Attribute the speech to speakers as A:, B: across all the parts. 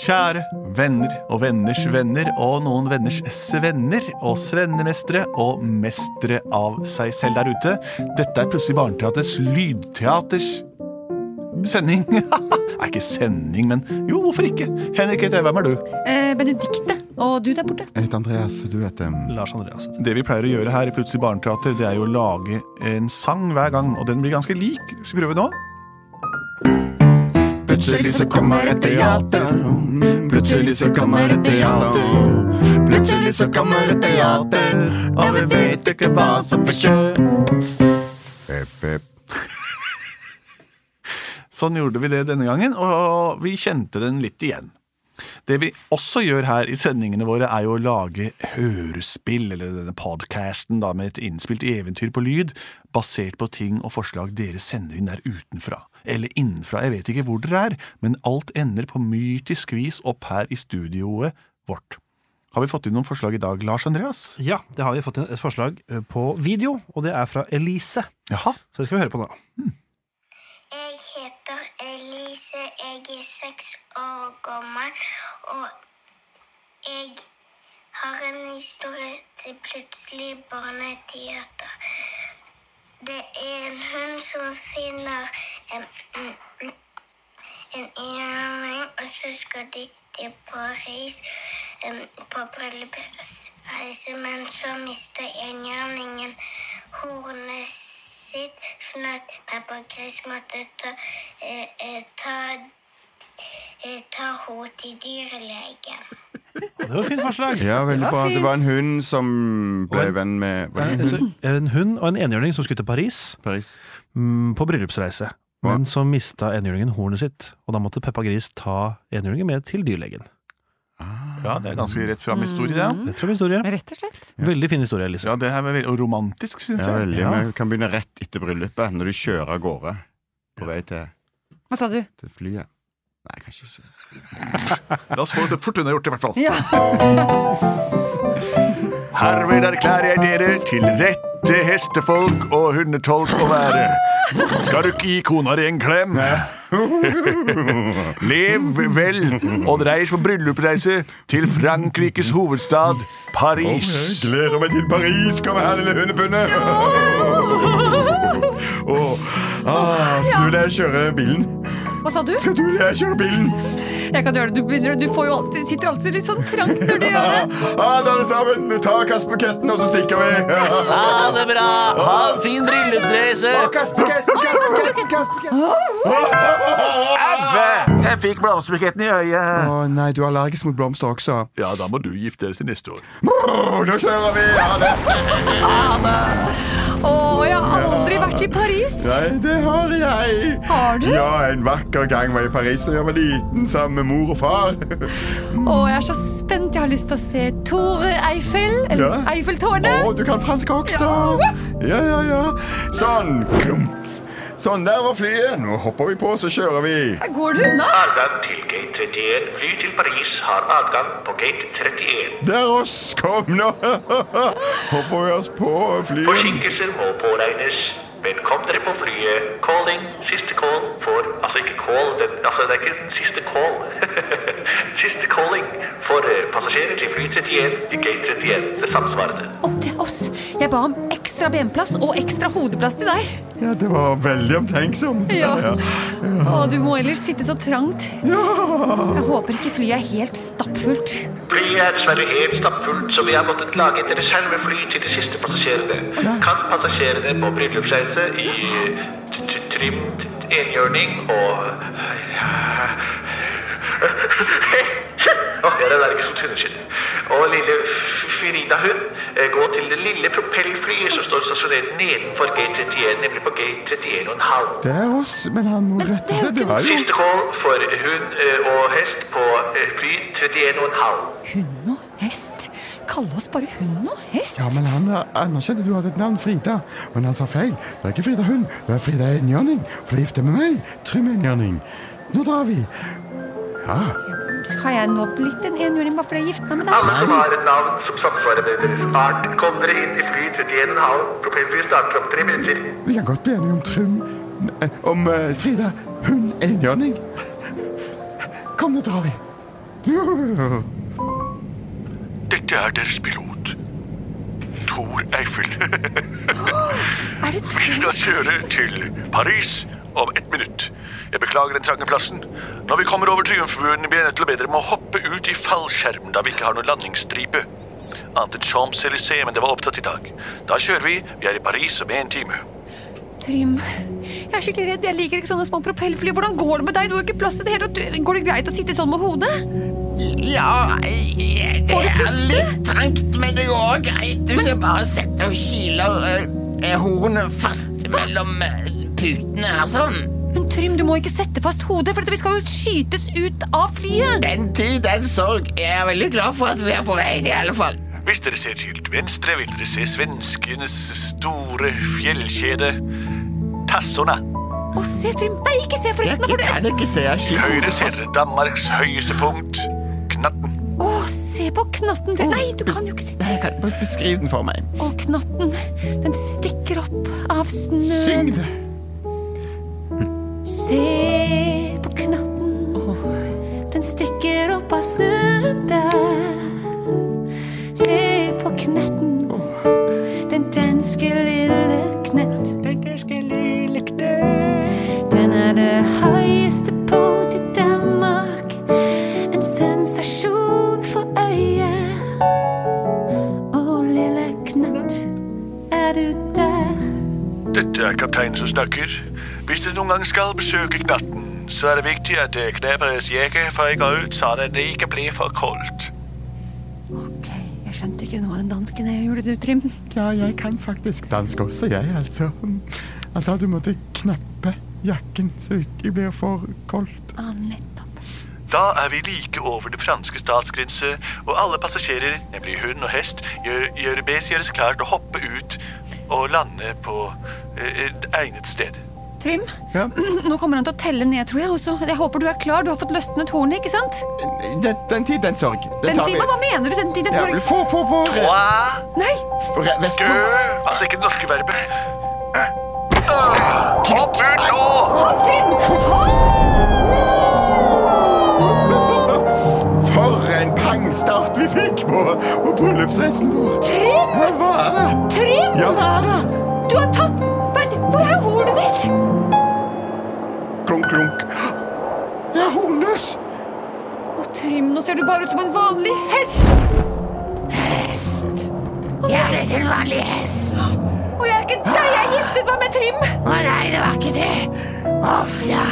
A: kjære venner og venners venner og noen venners svenner og svennemestere og mestere av seg selv der ute. Dette er plutselig Barneteaters lydteaters sending. er ikke sending, men jo, hvorfor ikke? Henrik Ete, hvem er du?
B: Eh, Benedikte, og du der borte.
C: Jeg heter Andreas, og du heter
D: Lars Andreas heter
A: Det vi pleier å gjøre her i Plutselig barneteater, det er jo å lage en sang hver gang, og den blir ganske lik. Skal vi prøve nå?
C: Plutselig så kommer et teater. Plutselig så kommer et teater. Plutselig så kommer et teater, og vi vet ikke hva som vil skje. Pep, pep.
A: Sånn gjorde vi det denne gangen, og vi kjente den litt igjen. Det vi også gjør her i sendingene våre, er jo å lage hørespill, eller denne podcasten da, med et innspilt eventyr på lyd, basert på ting og forslag dere sender inn der utenfra. Eller innenfra, jeg vet ikke hvor dere er, men alt ender på mytisk vis opp her i studioet vårt. Har vi fått inn noen forslag i dag, Lars Andreas?
D: Ja, det har vi fått inn et forslag eh, på video, og det er fra Elise.
A: Jaha.
D: Så det skal vi høre på nå.
E: Jeg heter Elise, jeg er seks år gammel, og jeg har en historie til plutselig barneteater. Det er en hund som finner en, en, en enhjørning, og så skal de til Paris um, på bryllupsreise, men så mister enhjørningen hornet sitt, sånn at Peppa Gris måtte ta, eh, eh, ta, eh, ta henne til dyrlegen.
D: Ja, det var et fint forslag.
C: Ja, veldig bra. Det var en hund som ble venn med var det en hund?
D: Så Eh, En hund og en enhjørning som skulle til Paris
C: Paris.
D: mm, på bryllupsreise. Men så mista enhjørningen hornet sitt, og da måtte Peppa Gris ta enhjørningen med til dyrlegen.
A: Ja, det er ganske rett fram historie, det.
C: Mm.
A: ja.
D: Rett fra historie.
B: Rett og slett.
D: Veldig fin historie, Elise.
A: Ja, det her var veldig og romantisk, syns
C: Ja,
A: jeg.
C: veldig.
D: Ja.
C: Vi kan begynne rett etter bryllupet, når du kjører av gårde på vei til,
B: Hva sa du?
C: til flyet. Nei, kanskje ikke.
A: La oss få det fort unnagjort, i hvert fall.
B: Ja.
A: Herved erklærer jeg dere til rette hestefolk og hundetolk å være. Skal du ikke gi kona di en klem? Lev vel og dreis på bryllupsreise til Frankrikes hovedstad, Paris.
C: gleder meg til Paris! Kom her, lille hundepundet! Åh, ah, skal du lære å kjøre bilen?
B: Hva sa du?
C: Skal du lære å kjøre bilen?
B: Jeg kan gjøre det. Du, begynner- du, får jo alltid, sitter alltid litt sånn trangt når du gjør det.
C: Ah, da er det sammen! Ta kast buketten, og så stikker vi!
F: Ha det bra! Ha en fin bryllupsreise!
C: Kast buketten, kast buketten, kast buketten!
A: Jeg fikk blomsterbuketten i øyet.
C: Å nei, du er allergisk mot blomster også.
A: Ja, da må du gifte deg til neste år.
C: Åh, da kjører vi! Ja, det.
B: Å, jeg har aldri vært i Paris.
C: Nei, det har jeg!
B: Har du?
C: Ja, en vakker gang var jeg i Paris da jeg var liten, sammen med mor og far.
B: Å, jeg er så spent. Jeg har lyst til å se Tore Eiffel. Eller
C: Ja.
B: Eiffeltårnet.
C: Å, du kan fransk også!
B: Ja.
C: Ja, ja, ja. Sånn. Klump. Sånn, der var flyet. Nå hopper vi på, så kjører vi.
B: Her går du unna.
G: Adgang til gate 31. Fly til Paris har adgang på gate 31.
C: Der oss, kom nå! Hopper vi oss på flyet.
G: Forsinkelser må påregnes. Men kom dere på flyet. Calling. Siste call for Altså ikke call, den, altså det er ikke den siste call. siste calling for eh, passasjerer til fly 31 i gate 31. Det samsvarende.
B: Opp til oss. Jeg ba om ekstra benplass og ekstra hodeplass til deg.
C: Ja, det var veldig omtenksomt.
B: Ja.
C: ja.
B: Å, du må ellers sitte så trangt. Jeg håper ikke flyet er helt stappfullt.
G: Flyet er dessverre helt stappfullt, så vi har måttet lage et reservefly til de siste passasjerene. Kan passasjerene på bryllupsreise i t- t- trim t- enhjørning og Åh, Jeg er allergisk mot hundeskinn. Og lille F- Frida-hund, eh, gå til det lille propellflyet som står stasjonert nedenfor gate 31, nemlig på gate 31 og en halv.
C: Der oss, men han må rette seg. Det var jo
G: Siste call for hund eh, og hest på eh, fly 31 og en halv.
B: Hund og hest. Kalle oss bare hund og hest?
C: ja, men han anerkjente du hadde et navn, Frida. Men han sa feil. Det er ikke Frida Hund, det er Frida Enhjørning. For du er gift med meg, Trym Enhjørning. Nå drar vi. Ja.
B: Har jeg nå blitt en enhjørning bare fordi jeg gifta meg med deg?
G: Alle som har et navn som samsvarer med deres art, kom dere inn i fly 31,5. Propellfly starter om tre minutter.
C: Vi kan godt bli enige om Trym eh, Om eh, Frida. Hun er enhjørning. Kom, nå drar vi.
G: Dette er deres pilot. Tor Eiffel.
B: Er det
G: Vi skal kjøre til Paris om ett minutt. Jeg beklager den trange plassen. Når vi kommer over Triumfbuen, blir jeg nødt til å be dere om å hoppe ut i fallskjerm, da vi ikke har noen landingsstripe. Annet enn Champs-Élysées, men det var opptatt i dag. Da kjører vi. Vi er i Paris om en time.
B: Trym? Jeg er skikkelig redd. Jeg liker ikke sånne små propellfly. Hvordan går det med deg? Du har ikke plass til det hele. og du- Går det greit å sitte sånn med hodet?
H: Ja, jeg- det
B: Får du
H: er
B: puste?
H: litt trangt, men det går greit. Du skal bare sette og kyle eh, hornet fast mellom eh, putene her sånn.
B: Men Trym, du må ikke sette fast hodet, for dette- vi skal jo skytes ut av flyet.
H: Den tid, den sorg. Jeg er veldig glad for at vi er på vei, i alle fall.
G: Hvis dere ser til venstre, vil dere se svenskenes store fjellkjede Tassona.
B: Å, se, Trym. Nei, ikke se
H: Jeg
B: forresten. For det.
H: kan ikke se jeg
G: Til
H: skyter
G: høyre
H: hodet
G: ser
H: fast.
G: dere Danmarks høyeste punkt, Knatten.
B: Å, se på knatten. Trym. Nei, du kan jo ikke se.
H: Nei, jeg kan- Beskriv den for meg.
B: Å, knatten. Den stikker opp av snøen.
H: Syng det.
B: Se på knatten, den stikker opp av snøen der. Se på knetten, den danske lille knett. Den er det høyeste punkt i Danmark. En sensasjon for øyet. Å, lille knett, er du der?
G: Dette er kapteinen som snakker. Hvis dere noen gang skal besøke Knatten, så er det viktig at dere kner på deres jakke for ikke å ut, så det ikke blir for koldt.
B: Ok, jeg skjønte ikke noe av den dansken jeg gjorde, du, Trym.
H: Ja, jeg kan faktisk dansk også, jeg, altså. Altså, du måtte kneppe jakken så det ikke blir for koldt.
B: Ah, nettopp.
G: Da er vi like over det franske statsgrense, og alle passasjerer, nemlig hund og hest, gjør, gjør bes gjøres klar til å hoppe ut og lande på eh, et egnet sted.
B: Trym,
H: Ja.
B: nå kommer han til å telle ned, tror jeg. Også. Jeg håper du er klar. Du har fått løsnet hornet, ikke sant?
H: Den, den tid, den sorg. Det
B: Den
H: tar vi.
B: timen, hva mener du? Den tiden
H: Ja,
B: tar
H: få på på
G: Trois,
B: Nei!
H: re-
G: Gø!
H: Vestpå.
G: Altså ikke det norske verbet. Øh, Hopp ut nå!
B: Hopp, Trym! Hopp!
H: For en pangstart vi fikk på, på bryllupsreisen vår.
B: Trym!
H: Ja, hva er det?
B: Trym!
H: Ja, hva er det?
B: Du har tatt Vent, hvor er hornet ditt?
H: Klunk, klunk. Jeg er hornløs.
B: Å, Trym, nå ser du bare ut som en vanlig hest.
I: Hest. Jeg er ikke en vanlig hest.
B: Og jeg er ikke deg. Jeg giftet meg med Trym.
I: Å nei, det var ikke det. Uff, ja.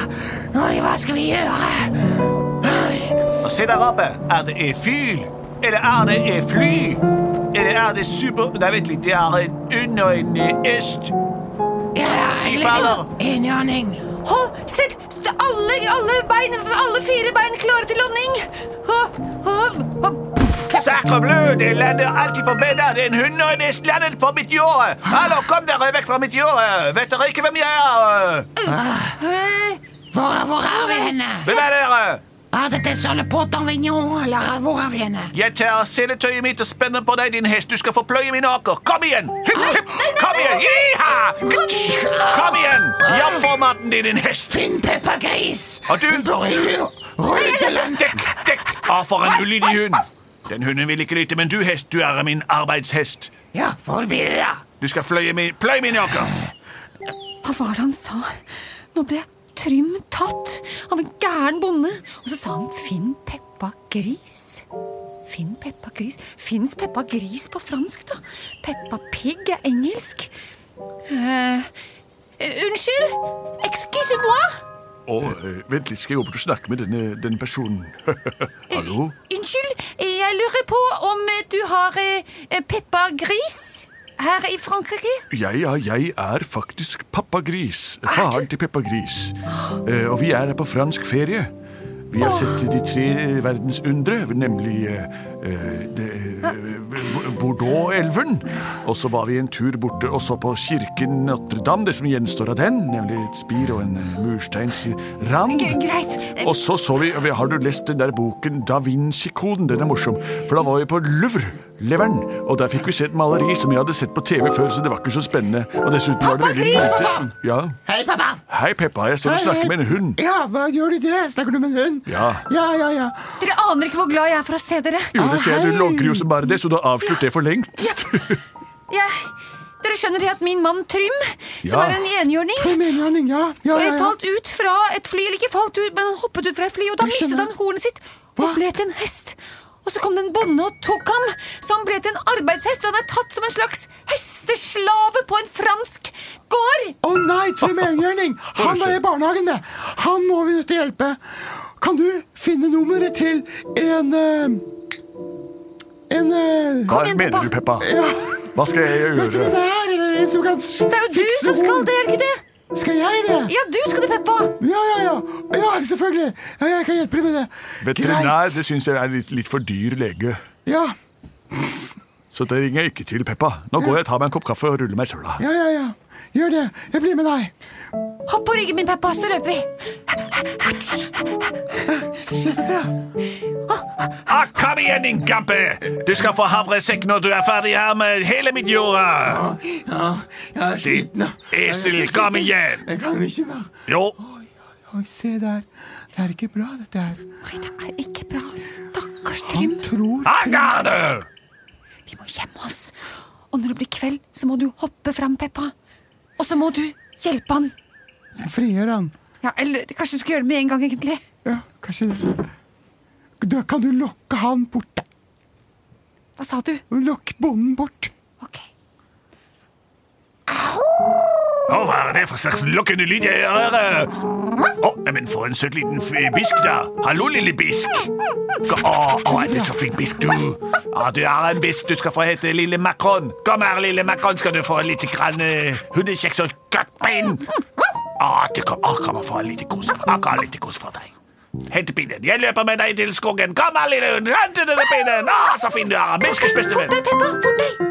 I: Oi, hva skal vi gjøre? Oi.
A: Og se der oppe. Er det et fyl? Eller er det et fly? Eller er det super... Nei, vent litt. Det er en hund og en eh, hest.
I: Ja,
A: Vi faller.
I: Enhjørning.
B: Hold, sett s- alle, alle bein, alle fire bein klare til landing. Hopp, hopp, hopp.
A: Sakre blø, det lander alltid på beina. Det er en hund og en hest landet på mitt jorde. Hallo, kom dere vekk fra mitt jorde. Vet dere ikke hvem jeg er?
B: Hei.
I: Hvor, hvor er vi henne?
A: Hvem er dere?
I: Er dette Soleport Avignon, eller hvor er vi henne?
A: Jeg tar seletøyet mitt og spenner på deg, din hest. Du skal få pløye min åker. Kom igjen! Hipp, hipp. Kom igjen! Jiha! Kom igjen! Japp for maten din, din hest.
I: Finn Peppa Gris.
A: Og du,
I: Rødeland.
A: dekk, dekk! Å, for en ulydig hund. Den hunden vil ikke lytte, men du, hest, du er min arbeidshest.
I: Ja, forbi det, da.
A: Du skal fløye min, pløye min åker.
B: Hva var det han sa? Nå ble Trym tatt av en gæren bonde. Og så sa han 'Finn Peppa Gris'. Finn Peppa Gris. Fins Peppa Gris på fransk, da? Peppa Pig er engelsk. Eh, eh, unnskyld! Excusez-moi!
C: Og eh, vent litt, skal jeg gå bort og snakke med denne, denne personen? Hallo?
B: Unnskyld, jeg lurer på om eh, du har eh, eh, Peppa Gris her i Frankrike?
C: Jeg, ja, jeg er faktisk pappa Gris. Faren til Peppa Gris. Eh, og vi er her på fransk ferie. Vi har sett de tre eh, verdensundre, nemlig eh, eh, det- eh, Bordeaux-elven. Og så var vi en tur borte og så på kirken Notre-Dame, det som gjenstår av den. Nemlig et spir og en eh, mursteinsrand.
B: G- Greit. Eh,
C: Og så så vi, vi Har du lest den der boken Da Vinci-koden? Den er morsom. For da var vi på Louvre.
J: leveren. Og der fikk vi se et maleri som jeg hadde sett på TV før, så det var ikke så spennende. Og dessuten var det
C: Pappa
J: veldig
C: Grisen!
J: Ja.
C: Hei, pappa!
J: Hei, Peppa. Jeg står og snakker med en hund.
C: Ja, hva gjør du det? Snakker du med en hund?
J: Ja.
C: Ja, ja, ja.
B: Dere aner ikke hvor glad jeg er for å se dere.
J: Jo, det ser jeg.
C: hei.
J: Du logrer jo som bare det, så du har avslørt det for lengst.
B: Jeg, dere skjønner det at min mann Trym, som
J: Ja.
B: er en enhjørning
C: Jeg mener han, ja. Ja, ja,
B: Jeg
C: ja.
B: falt ut fra et fly, eller ikke falt ut, men han hoppet ut fra et fly, og da
C: Jeg
B: mistet
C: skjønner.
B: han hornet sitt og ble til en hest. Og så kom det en bonde og tok ham, så han ble til en arbeidshest, og han er tatt som en slags hesteslave på en fransk gård.
C: Å nei, Trym Engjørning! Han er i barnehagen, det! Han må vi nødt til å hjelpe. Kan du finne nummeret til en eh, En eh,
J: Hva
B: igjen,
J: mener du, Peppa? Hva skal jeg gjøre?
C: veterinær eller en som kan s- fikse
B: Det er jo du som skal det, er det ikke det?
C: Skal jeg det?
B: Ja, du skal det, Peppa.
C: Ja, ja, ja. ja selvfølgelig. Ja, jeg kan hjelpe deg med det.
J: Veterinær det syns jeg er litt, litt for dyr lege.
C: Greit. Ja,
J: Så det ringer jeg ikke til, Peppa. Nå går jeg og tar meg en kopp kaffe og ruller meg i søla.
C: ja, ja, ja. Gjør det. Jeg blir med deg.
B: Hopp på ryggen min, Peppa, så løper vi.
C: Kjempebra.
A: Ah, kom igjen, din gampe! Du skal få havresekk når du er ferdig her med hele mitt jorda.
C: Ja, jeg er sliten. da.
A: Esel, kom igjen!
C: Jeg kan ikke mer.
A: Jo,
C: Oi, se der. Det er ikke bra, dette her.
B: Nei, det er ikke bra. Stakkars
C: Han
B: Trym.
C: tror
A: Agarde!
B: Vi må gjemme oss. Og når det blir kveld, så må du hoppe fram, Peppa. Og så må du hjelpe han.
C: Frigjør han.
B: Ja, eller kanskje du skal gjøre det med en gang, egentlig.
C: Ja, kanskje det. Da kan du lokke han bort.
B: Hva sa du?
C: Lokk bonden bort.
B: Ok.
A: Å, hva er det for slags lokkende lyd jeg hører? Å, nei, men for en søt liten f- bisk, da. Hallo, lille bisk. Gå- Å, å, er det så flink bisk, du? Ja, du er en bisk. Du skal få hete Lille Makron. Kom her, Lille Makron, skal du få litt grann uh, hundekjeks og kattbein. Å, det kom, å, kom og få litt kos. Å, kom, litt kos for deg. Hent pinnen. Jeg løper med deg til skogen. Kom her, lille hund. Hent denne pinnen. Å, så fin du er. Biskers beste venn.
B: Fort deg, Peppa! Fort deg!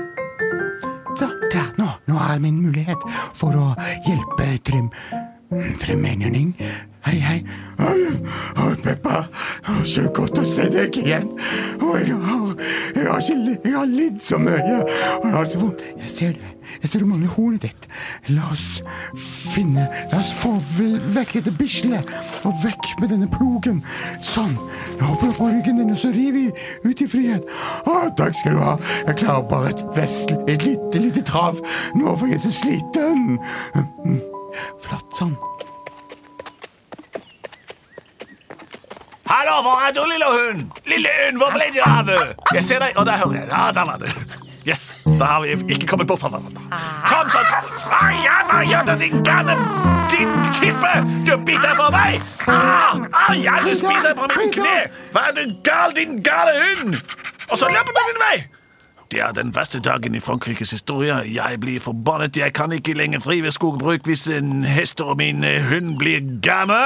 C: Så, der, nå, nå er min mulighet for å hjelpe Trym. Trym Engjørning. Hei, hei. Oi, oi, Peppa. Å, Så godt å se deg igjen. Oi, jeg har, jeg har, ikke, li- jeg har lidd så mye, og jeg har så vondt. Jeg ser det. Jeg ser du mangler hornet ditt. La oss finne La oss få v- vekk dette bislet, og vekk med denne plogen. Sånn. Jeg hopper opp på ryggen din, og så rir vi ut i frihet. Å, takk skal du ha. Jeg klarer bare et vesle, et lite, lite trav. Nå for jeg er så sliten. Mm. Flott. Sånn.
A: Hallo, hvor er du, lille hund? Lille hund, hvor ble du av? Jeg ser deg, og der hører jeg. Ja, der var du. Yes, da har vi ikke kommet bort fra hverandre. Kom sånn. Ai, ja, hva gjør du, din gærne Din kispe! Du biter for meg! Ah, Ai, ja, du spiser på mitt kne! Hva er du gal, din gale hund? Og så løper du din vei!
K: Det er den verste dagen i Frankrikes historie. Jeg blir forbannet. Jeg kan ikke lenger drive skogbruk hvis en hest og min eh, hund blir gærne.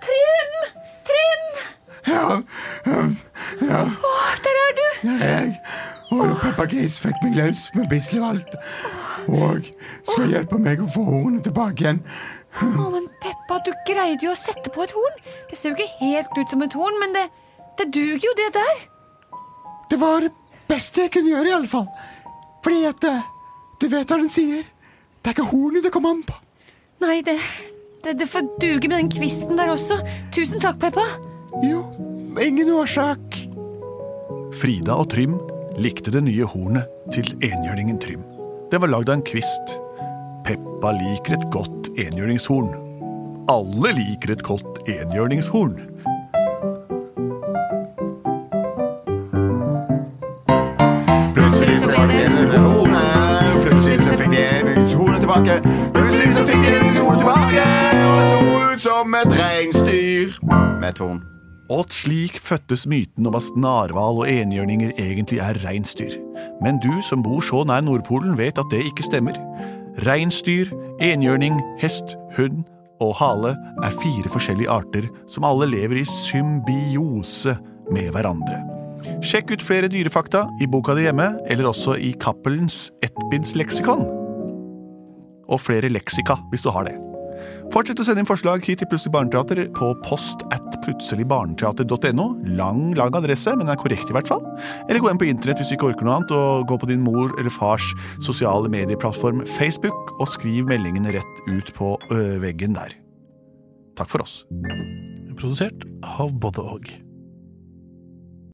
B: Trym! Trym!
C: Ja, um, ja.
B: Å, der er du!
C: Ja, jeg og Peppa Gris fikk meg løs med bislevalt. Og skal hjelpe meg å få hornet tilbake igjen.
B: Å, men Peppa, du greide jo å sette på et horn. Det ser jo ikke helt ut som et horn, men det, det duger jo, det der.
C: Det var det beste jeg kunne gjøre, iallfall. Fordi at eh, Du vet hva den sier. Det er ikke hornet det kommer an på.
B: Nei, det, det, det får duge med den kvisten der også. Tusen takk, Peppa.
C: Jo, ingen årsak.
J: Frida og Trym likte det nye hornet til enhjørningen Trym. Det var lagd av en kvist. Peppa liker et godt enhjørningshorn. Alle liker et godt enhjørningshorn.
L: Plutselig så var det en med hornet. Plutselig så fikk jeg hornet tilbake. Plutselig så fikk jeg hornet tilbake, og jeg så ut som et reinsdyr med et horn.
J: Og slik fødtes myten om at snarhval og enhjørninger egentlig er reinsdyr. Men du som bor så nær Nordpolen, vet at det ikke stemmer. Reinsdyr, enhjørning, hest, hund og hale er fire forskjellige arter som alle lever i symbiose med hverandre. Sjekk ut flere dyrefakta i boka di hjemme, eller også i Cappelens ettbindsleksikon. Og flere leksika, hvis du har det. Fortsett å sende inn forslag hit til Plutselig barneteater på post at
A: plutselig barneteater.no. Lang, lang adresse, men den er korrekt i hvert fall. Eller gå inn på internett hvis du ikke orker noe annet, og gå på din mor eller fars sosiale medieplattform Facebook, og skriv meldingen rett ut på ø, veggen der. Takk for oss.
D: Produsert av både og.